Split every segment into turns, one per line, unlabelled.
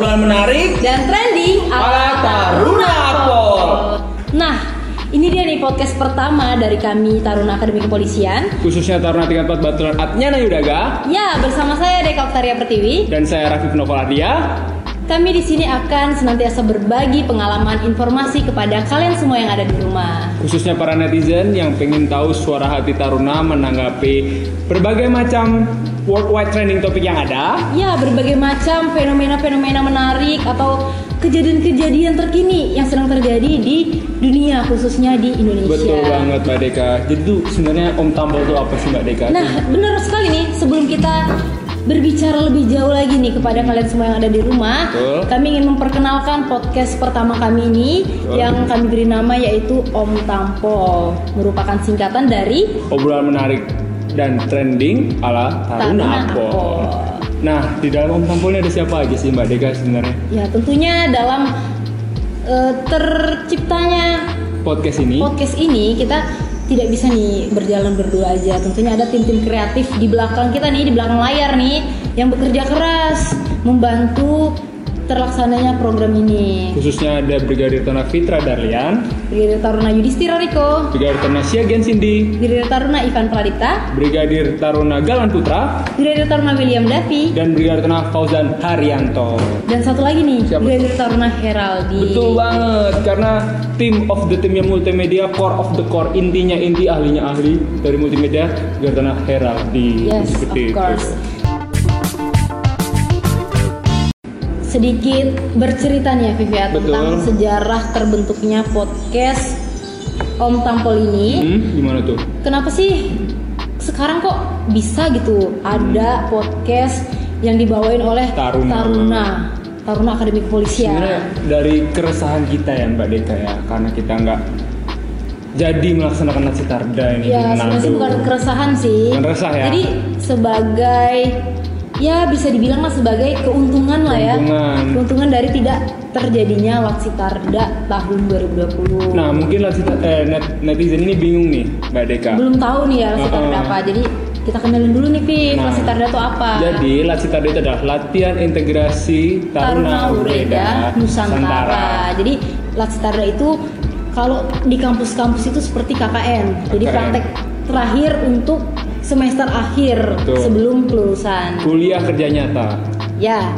menarik
dan trending
ala Taruna Akpol.
Nah, ini dia nih podcast pertama dari kami Taruna Akademi Kepolisian.
Khususnya Taruna Tingkat 4 Baturan Atnya Yudaga
Ya, bersama saya Deka Oktaria Pertiwi.
dan saya Rafif Novel Ardia.
Kami di sini akan senantiasa berbagi pengalaman informasi kepada kalian semua yang ada di rumah.
Khususnya para netizen yang pengen tahu suara hati Taruna menanggapi berbagai macam worldwide trending topik yang ada.
Ya, berbagai macam fenomena-fenomena menarik atau kejadian-kejadian terkini yang sedang terjadi di dunia khususnya di Indonesia.
Betul banget Mbak Deka. Jadi tuh sebenarnya Om Tambol tuh apa sih Mbak Deka?
Nah, benar sekali nih. Sebelum kita berbicara lebih jauh lagi nih kepada kalian semua yang ada di rumah,
Betul.
kami ingin memperkenalkan podcast pertama kami ini
Betul.
yang kami beri nama yaitu Om Tampol, merupakan singkatan dari
obrolan menarik dan trending ala
Taruna
Taruna
Akpol.
Akpol. Nah, di dalam Om Tambol ini ada siapa aja sih Mbak Deka sebenarnya?
ya tentunya dalam eh, terciptanya
Podcast ini
podcast ini kita tidak bisa nih berjalan berdua aja. Tentunya ada tim-tim kreatif di belakang kita nih, di belakang layar nih yang bekerja keras membantu terlaksananya program ini.
khususnya ada Brigadir Taruna Fitra Darlian,
Brigadir Taruna Yudhistira Riko,
Brigadir Taruna Siagian Cindy,
Brigadir Taruna Ivan Pradipta,
Brigadir Taruna Galan Putra,
Brigadir Taruna William Davi,
dan Brigadir Taruna Fauzan Haryanto.
dan satu lagi nih,
Siapa?
Brigadir Taruna Heraldi.
Betul banget, karena tim of the teamnya multimedia, core of the core, intinya inti, ahlinya ahli dari multimedia, Brigadir Taruna Heraldi.
Yes, of
Seperti itu.
course. Sedikit bercerita nih ya Vivi ya, tentang
Betul.
sejarah terbentuknya podcast Om Tampol ini.
Hmm, gimana tuh?
Kenapa sih sekarang kok bisa gitu ada podcast yang dibawain oleh
Hmm. Taruna.
Taruna, Taruna Akademi Kepolisian.
sebenarnya dari keresahan kita ya Mbak Deka ya karena kita nggak jadi melaksanakan nasi tarda ini di
Ya,
Manado.
sebenarnya sih bukan keresahan sih.
Bukan resah ya?
Jadi sebagai ya bisa dibilang lah sebagai keuntungan lah ya.
Keuntungan.
Keuntungan dari tidak terjadinya Laksitarda tahun 2020.
Nah mungkin nasi- eh, net- netizen ini bingung nih Mbak Deka.
Belum tahu nih ya Laksitarda
Uh-uh.
apa. Jadi kita kenalin dulu nih Viv,
Nah.
Laksitarda itu apa?
Jadi Latsi Tarda itu adalah latihan integrasi
Taruna
Taruna
Ureda
Ureda Nusantara.
Nusantara. Jadi Laksitarda itu kalau di kampus-kampus itu seperti KKN. Jadi
KKN.
praktek terakhir untuk semester akhir
Betul.
sebelum kelulusan.
Kuliah kerja nyata.
Ya,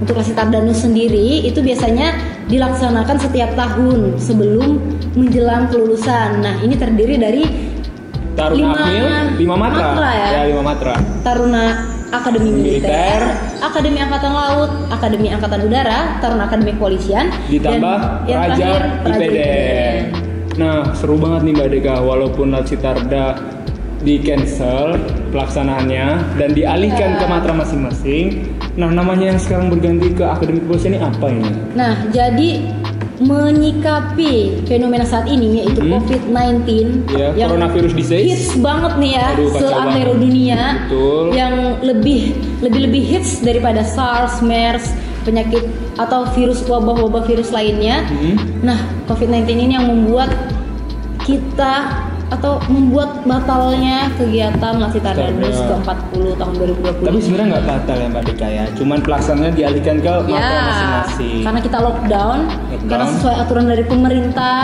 untuk Rasi Tardanus sendiri itu biasanya dilaksanakan setiap tahun sebelum menjelang kelulusan. Nah, ini terdiri dari
Taruna
Lima-
Akmil, lima matra.
matra ya?
lima matra.
Taruna Akademi Militer,
Militer.
Akademi Angkatan Laut, Akademi Angkatan Udara, Taruna Akademi Kepolisian,
ditambah
dan yang
Raja
terakhir,
IPDN. Nah, seru banget nih Mbak Deka, walaupun Natsi Tarda di cancel pelaksanaannya dan dialihkan
Ya.
ke matra masing-masing. Nah, namanya yang sekarang berganti ke akademik polisi ini apa ini?
Nah, jadi menyikapi fenomena saat ini yaitu
Hmm.
COVID-19
Ya, coronavirus disease.
hits banget nih ya
Aduh, kacau
seantero
banget.
dunia
Betul.
yang lebih lebih lebih hits daripada SARS, MERS, penyakit atau virus wabah-wabah virus lainnya.
Hmm.
Nah, COVID-19 ini yang membuat kita atau membuat batalnya kegiatan Lasi Tardanus
Tarda.
ke-40 tahun 2020.
Tapi sebenarnya nggak batal ya Mbak Deka ya, cuman pelaksanaannya dialihkan ke matra
Ya,
masing-masing.
karena kita lockdown,
Lockdown.
karena sesuai aturan dari pemerintah,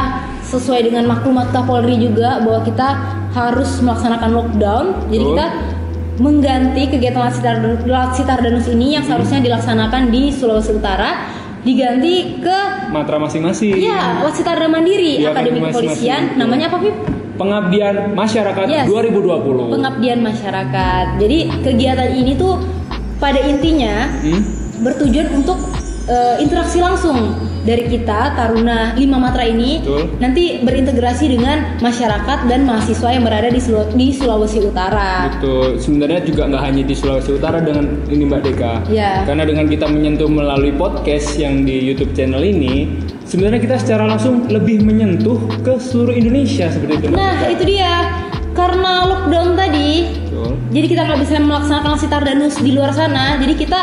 sesuai dengan maklumat Kapolri juga bahwa kita harus melaksanakan lockdown. Jadi
Betul.
kita mengganti kegiatan Laksitar Laksitardanus ini yang seharusnya dilaksanakan di Sulawesi Utara diganti ke
Matra masing-masing.
ya Laksitarda Mandiri
Iya,
Akademi
masing-masing.
Kepolisian.
Betul.
Namanya apa, Pip?
Pengabdian Masyarakat
Yes.
2020.
Pengabdian Masyarakat. Jadi kegiatan ini tuh pada intinya
Hmm?
bertujuan untuk eh, interaksi langsung dari kita Taruna Lima Matra ini
Betul.
nanti berintegrasi dengan masyarakat dan mahasiswa yang berada di, Sulaw- di Sulawesi Utara.
Betul. Gitu. Sebenarnya juga nggak hanya di Sulawesi Utara dengan ini Mbak Deka.
Iya.
Karena dengan kita menyentuh melalui podcast yang di YouTube channel ini, sebenarnya kita secara langsung lebih menyentuh ke seluruh Indonesia seperti itu. Mbak
Nah
Deka.
itu dia karena lockdown tadi
Betul.
jadi kita nggak bisa melaksanakan sitar danus di luar sana jadi kita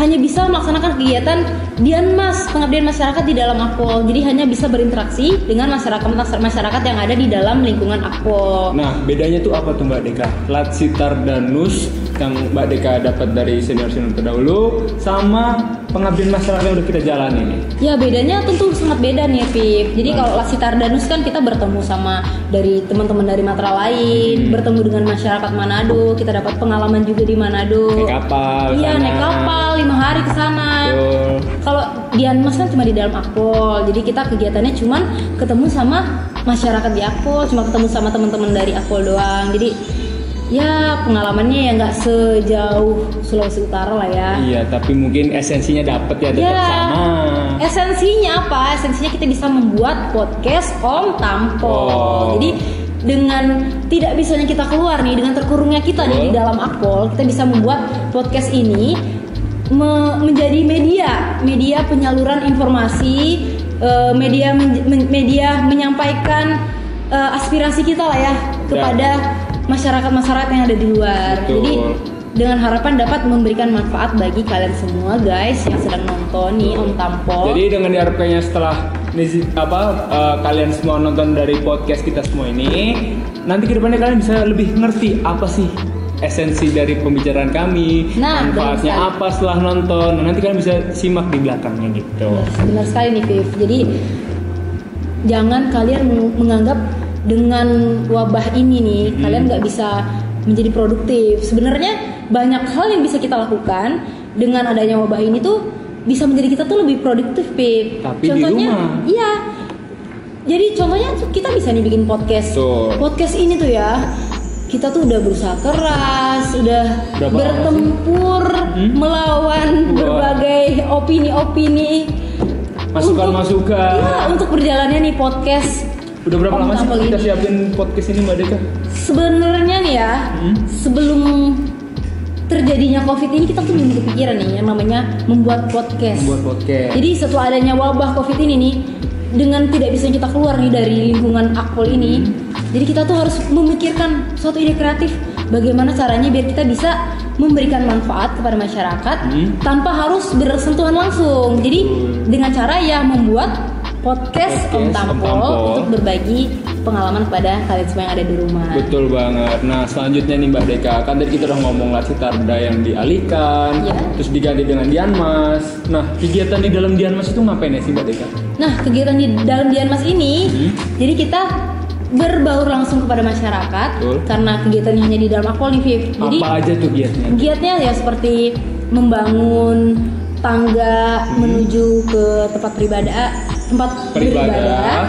hanya bisa melaksanakan kegiatan Dianmas, pengabdian masyarakat di dalam Akpol. Jadi hanya bisa berinteraksi dengan masyarakat masyarakat yang ada di dalam lingkungan Akpol.
Nah, bedanya tuh apa tuh Mbak Deka? Latsitar Danus yang Mbak Deka dapat dari senior-senior terdahulu sama pengabdian masyarakat yang udah kita jalani nih.
Ya bedanya tentu sangat beda nih Viv. Jadi kalau Laksitar Danus kan kita bertemu sama dari teman-teman dari matra
Hmm.
lain, bertemu dengan masyarakat Manado, kita dapat pengalaman juga di Manado.
Naik kapal
Iya
sana.
naik kapal lima hari ke sana.
Betul.
Kalau Dianmas kan cuma di dalam Akpol, jadi kita kegiatannya cuman ketemu sama masyarakat di Akpol, cuma ketemu sama teman-teman dari Akpol doang. Jadi ya pengalamannya ya nggak sejauh Sulawesi Utara lah ya.
Iya, tapi mungkin esensinya dapat ya tetap
Ya.
sama.
Esensinya apa? Esensinya kita bisa membuat podcast Om Tampo.
Wow.
Jadi dengan tidak bisanya kita keluar nih, dengan terkurungnya kita nih di
Betul.
dalam Akpol, kita bisa membuat podcast ini me- menjadi media, media penyaluran informasi, eh, media men- men- media menyampaikan eh, aspirasi kita lah ya kepada masyarakat-masyarakat yang ada di luar.
Ya. Betul.
Jadi dengan harapan dapat memberikan manfaat bagi kalian semua guys yang sedang nonton nih Om Tampo.
Jadi dengan diharapkannya setelah Nizi- apa eh, kalian semua nonton dari podcast kita semua ini, nanti kedepannya kalian bisa lebih ngerti apa sih esensi dari pembicaraan kami,
Nah,
manfaatnya
benar sekali.
apa setelah nonton. Dan nanti kalian bisa simak di belakangnya gitu.
Benar sekali nih Viv. Jadi jangan kalian meng- menganggap dengan wabah ini nih
Hmm.
kalian nggak bisa menjadi produktif. Sebenarnya banyak hal yang bisa kita lakukan dengan adanya wabah ini tuh bisa menjadi kita tuh lebih produktif, Viv.
Tapi di rumah.
iya. Jadi contohnya tuh kita bisa nih bikin podcast.
Betul.
Podcast ini tuh ya kita tuh udah berusaha keras, udah
Berapa lama sih?
bertempur
Hmm?
melawan
Wah.
berbagai opini-opini
Masukan-masukan.
Iya, untuk berjalannya nih podcast.
Udah berapa
Om
lama sih
Tampol
kita
ini.
siapin podcast ini Mbak Deka?
Sebenarnya nih ya,
Hmm?
sebelum terjadinya Covid ini kita tuh belum kepikiran nih yang namanya membuat podcast.
Membuat podcast.
Jadi setelah adanya wabah Covid ini nih, dengan tidak bisa kita keluar nih dari lingkungan akpol ini, jadi kita tuh harus memikirkan suatu ide kreatif bagaimana caranya biar kita bisa memberikan manfaat kepada masyarakat
Hmm.
tanpa harus bersentuhan langsung. Jadi dengan cara ya membuat podcast,
Podcast
Om
Om
Tampol
Tampol.
untuk berbagi pengalaman kepada kalian semua yang ada di rumah.
Betul banget. Nah, selanjutnya nih Mbak Deka, kan tadi kita udah ngomong Latsi Tarda yang dialihkan,
Iya.
terus diganti dengan Dianmas. Nah, kegiatan di dalam Dianmas itu ngapain ya sih Mbak Deka?
Nah, kegiatan di dalam Dianmas ini,
Hmm.
jadi kita berbaur langsung kepada masyarakat
Betul.
karena kegiatannya hanya di dalam akpol nih, Viv. Jadi
Apa aja tuh giatnya?
giatnya ya seperti membangun tangga
Hmm.
menuju ke tempat beribadah, tempat
Beribadah.
beribadah.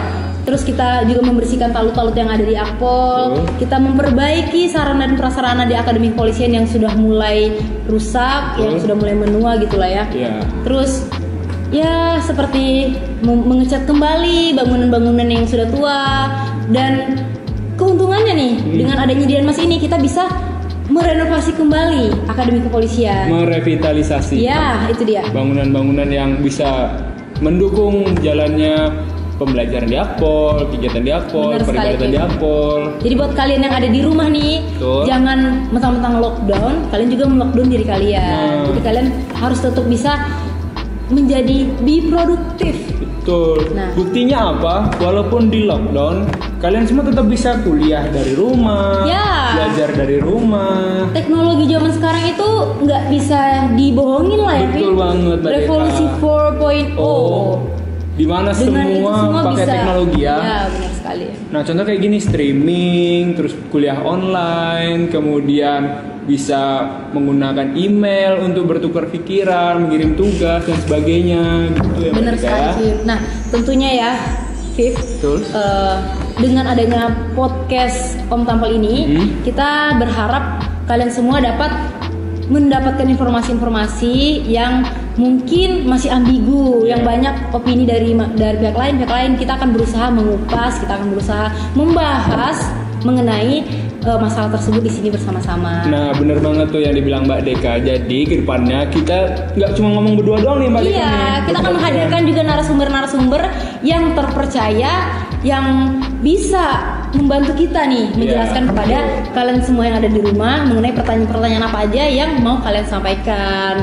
Terus kita juga membersihkan talut-talut yang ada di Akpol.
Betul.
Kita memperbaiki sarana dan prasarana di Akademi Kepolisian yang sudah mulai rusak, yang
Betul.
sudah mulai menua gitu lah ya.
Ya,
Terus ya seperti mem- mengecat kembali bangunan-bangunan yang sudah tua dan keuntungannya nih dengan adanya Dianmas ini kita bisa merenovasi kembali Akademi Kepolisian.
merevitalisasi
Ya, itu dia.
bangunan-bangunan yang bisa mendukung jalannya pembelajaran di Akpol, kegiatan di Akpol,
Benar sekali,
peribadatan
Kim.
di Akpol.
Jadi buat kalian yang ada di rumah nih,
Betul.
jangan mentang-mentang lockdown, kalian juga melockdown diri kalian.
Nah.
Jadi kalian harus tetap bisa menjadi be produktif.
Betul.
Nah.
Buktinya apa? Walaupun di lockdown, kalian semua tetap bisa kuliah dari rumah,
Ya.
belajar dari rumah.
teknologi zaman sekarang itu nggak bisa dibohongin lah ya
Betul
Vin.
banget, Mbak
revolusi
Deta.
4.0
Oh, di mana
dengan itu semua
semua pakai
bisa
teknologi ya.
ya benar sekali
Nah, contoh kayak gini streaming, terus kuliah online, kemudian bisa menggunakan email untuk bertukar pikiran, mengirim tugas dan sebagainya gitu ya. Mbak
benar
Dika,
sekali
ya.
Vin. nah tentunya ya Viv
Betul.
eh, dengan adanya podcast Om Tampol ini
Mhm.
kita berharap kalian semua dapat mendapatkan informasi-informasi yang mungkin masih ambigu, yang banyak opini dari ma- dari pihak lain, pihak lain kita akan berusaha mengupas, kita akan berusaha membahas mengenai eh, masalah tersebut di sini bersama-sama.
Nah, bener banget tuh yang dibilang Mbak Deka. Jadi, ke depannya kita nggak cuma ngomong berdua doang nih Mbak Deka.
Iya,
nih.
kita akan menghadirkan juga narasumber-narasumber yang terpercaya, yang bisa
membantu kita nih
Iya,
menjelaskan kepada kalian semua yang ada di rumah mengenai pertanyaan-pertanyaan apa aja yang mau kalian sampaikan.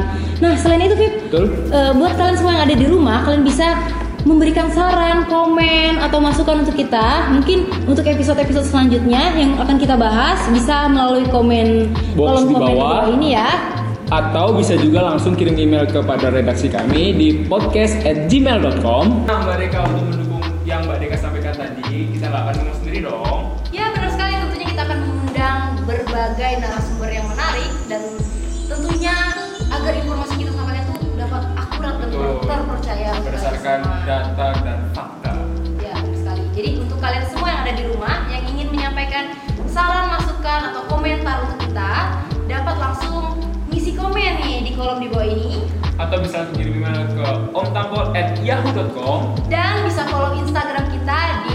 Nah, selain itu, Fib,
Betul.
Eh, buat kalian semua yang ada di rumah, kalian bisa memberikan saran, komen, atau masukan untuk kita. Mungkin untuk episode-episode selanjutnya yang akan kita bahas bisa melalui komen
Box
kolom
di
komen di
bawah.
bawah ini ya.
Atau bisa juga langsung kirim email kepada redaksi kami di podcast@gmail.com.
Nah, Mbak Deka untuk mendukung yang Mbak Deka sampaikan tadi, kita nggak akan ngomong sendiri dong.
Ya benar sekali tentunya kita akan mengundang berbagai narasumber yang menarik dan tentunya agar informasi kita sama kalian tuh dapat akurat dan
Betul.
terpercaya untuk kalian
Berdasarkan
semua.
data dan fakta.
Ya benar sekali. Jadi untuk kalian semua yang ada di rumah yang ingin menyampaikan saran, masukan atau komentar untuk kita dapat langsung ngisi komen nih di kolom di bawah ini
Atau bisa kirim email ke omtampo@yahoo.com.
dan bisa follow Instagram kita di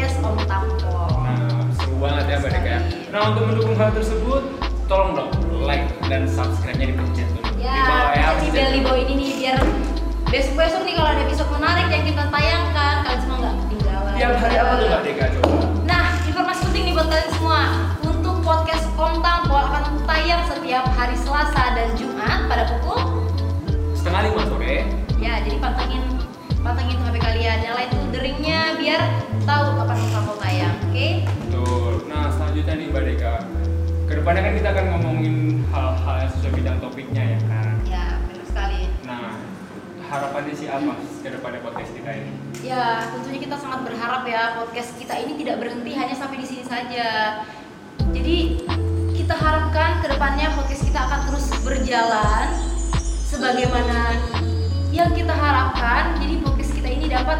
@podcastomtampo.
Nah, seru banget ya Mbak Deka ya. Nah, untuk mendukung hal tersebut, tolong dong like dan subscribe-nya dipencet dulu. di bawah
Ya,
ya.
di
pencet.
bel di bawah ini nih biar besok-besok nih kalau ada episode menarik yang kita tayangkan, kalian semua nggak ketinggalan.
Tiap hari apa tuh Mbak Deka coba?
Nah, informasi penting nih buat kalian semua. Untuk podcast Om Tampol akan tayang setiap hari Selasa dan Jumat pada pukul
Setengah lima sore.
ya jadi pantengin pantengin HP kalian nyalain tuh deringnya biar tahu kapan Om Tampol tayang oke
Betul. Nah, selanjutnya nih Mbak Deka. Kedepannya kan kita akan ngomongin hal-hal yang sesuai bidang topiknya ya kan.
ya benar sekali
Nah, harapannya sih apa ke depannya podcast kita ini?
Ya, tentunya kita sangat berharap ya podcast kita ini tidak berhenti hanya sampai di sini saja. Jadi kita harapkan kedepannya podcast kita akan terus berjalan sebagaimana yang kita harapkan. Jadi podcast kita ini dapat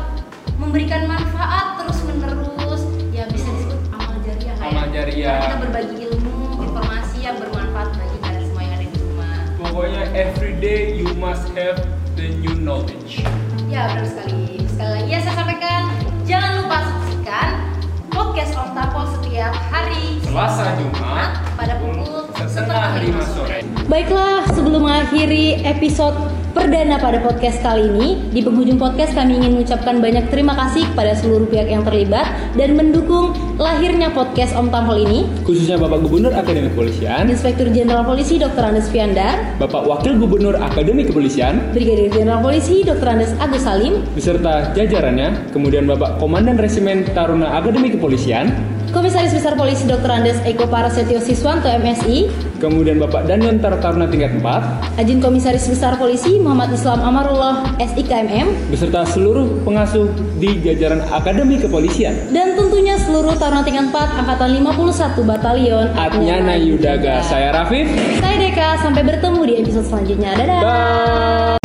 memberikan manfaat terus menerus. Ya bisa disebut amal jariah. lah ya.
Amal jariah.
Karena Kita berbagi ilmu, informasi yang bermanfaat bagi kalian semua yang ada di rumah.
Pokoknya every day you must have the new knowledge.
Ya benar sekali. Sekali lagi ya saya sampaikan jangan lupa saksikan podcast Om Tapol setiap hari
Selasa Jumat
pada pukul
setengah lima sore.
Baiklah, sebelum mengakhiri episode perdana pada podcast kali ini, di penghujung podcast kami ingin mengucapkan banyak terima kasih kepada seluruh pihak yang terlibat dan mendukung lahirnya podcast Om Tampol ini.
Khususnya Bapak Gubernur Akademi Kepolisian,
Inspektur Jenderal Polisi Dr. Andes Fiandar,
Bapak Wakil Gubernur Akademi Kepolisian,
Brigadir Jenderal Polisi Dr. Andes Agus Salim,
beserta jajarannya, kemudian Bapak Komandan Resimen Taruna Akademi Kepolisian,
Komisaris Besar Polisi Dr. Andes Eko Parasetyo Siswanto MSI,
kemudian Bapak Danyon Tar- Taruna tingkat 4,
Ajun Komisaris Besar Polisi Muhammad Islam Amarullah SIKMM,
beserta seluruh pengasuh di jajaran Akademi Kepolisian.
dan tentunya seluruh Taruna Tingkat 4 Angkatan 51 Batalion
Atnyana Yudaga, saya Rafif.
Saya Deka, sampai bertemu di episode selanjutnya. Dadah!
Bye.